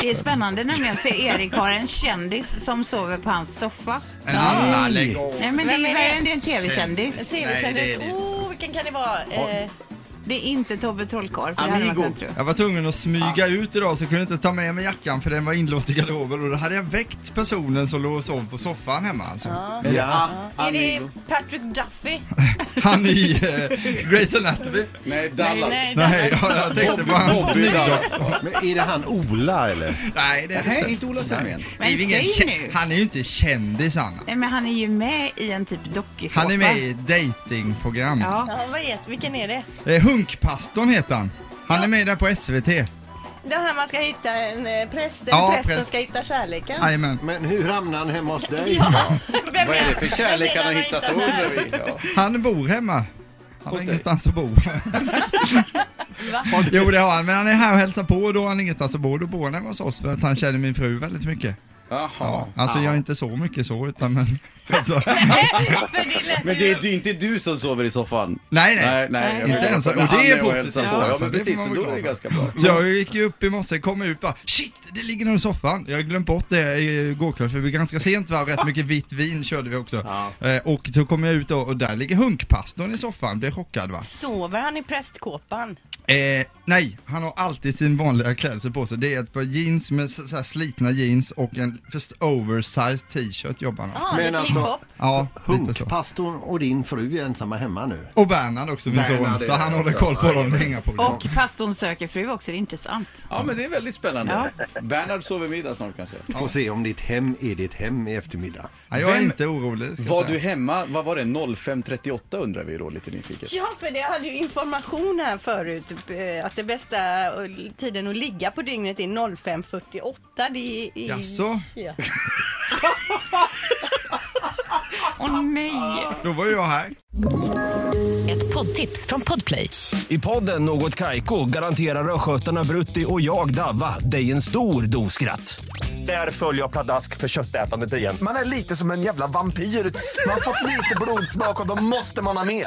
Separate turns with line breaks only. Det är spännande nämligen för Erik har en kändis som sover på hans soffa.
En Anna, lägg av.
Nej men det är
Vem
ju
är
värre
det?
än det är en tv-kändis.
Nej,
TV-kändis.
det är det.
Oh, vilken kan det vara? Eh,
Det är inte Tobbe Trollkarl. för det hade
Amigo.
varit en tro.
Jag var tvungen att smyga ut idag så jag kunde inte ta med mig jackan för den var inlåst i garderoben och då hade jag väckt personen som låg och sov på soffan hemma alltså.
Ja,
är det
Amigo.
Patrick Duffy?
Han i eh, Grey's Anatomy.
Nej, Dallas.
Nej, nej.
Nej, ja, jag tänkte på han.
Bobby Dallas.
Men är det han Ola eller?
Nej, det är det
Nej,
inte.
inte Ola Sandgren.
Det är ju
Men
ingen
säg
kä-
nu.
Han är ju inte kändis han.
Nej men han är ju med i en typ dokusåpa.
Han är med i ett datingprogram.
Ja.
Ja, vad heter, vilken är det?
Eh, Hunkpastorn heter han. Han är med där på SVT.
Den här man ska hitta en eh, präst, eller
Ja,
prästen
präst.
ska hitta kärleken.
Jajamän.
Men hur hamnade han hemma hos dig?
Vem
Vad är det för kärlek
vem är
han
det
har hittat då undrar vi? Ja.
Han bor hemma. Han har
dig?
ingenstans att bo. jo det har han, men han är här och hälsar på och då har han ingenstans att bo. Då bor han hemma hos oss för att han känner min fru väldigt mycket.
Jaha.
Alltså jag är inte så mycket så utan men... Alltså,
Men det är ju inte du som sover i soffan.
nej nej.
nej. jag
Inte
vet.
ens- och det
Han
är
och
positivt,
hälsar på. Ja,
alltså.
men
Det får
precis.
man
så
vara
Då är det
glad
ganska bra.
Så jag gick ju upp i morse, kom ut bara shit det ligger någon i soffan. Jag har glömt bort det igår kväll för vi var ganska sent var rätt mycket vitt vin körde vi också. Eh, Och så kom jag ut och, och där ligger hunkpastorn i soffan, blev chockad va.
Sover han i prästkåpan?
Eh, nej, han har alltid sin vanliga klädsel på sig. Det är ett par jeans med så, så här slitna jeans och en först oversized t-shirt jobbar
Ah.
han.
Ja,
Men
lite
alltså-
hiphop.
Ja, lite så.
Hunkpastorn och din fru är ensamma hemma nu.
Och Bernhard också, min
Bernhard
son.
är
Så
det
han håller
också.
koll på dem, det är inga problem.
Och pastorn söker fru också, det är intressant.
Ja, men det är väldigt spännande. Bernhard sover middag snart kanske.
Får se om ditt hem är ditt hem i eftermiddag.
Ja, jag är
Vem-
inte orolig, det ska jag
Var du
säga.
hemma, vad var det, 05.38 undrar vi då lite nyfiket.
Ja, för det hade ju information här förut eh, att det bästa eh, tiden att ligga på dygnet är 05.48. Det är...
Jaså?
Ja.
Åh nej!
Då var jag här.
Ett poddtips från Podplay.
I podden Något Kaiko garanterar östgötarna Brutti och jag, Davva, dig en stor dos skratt. Där följer jag pladask för köttätandet igen.
Man är lite som en jävla vampyr. Man har fått lite blodsmak och då måste man ha mer.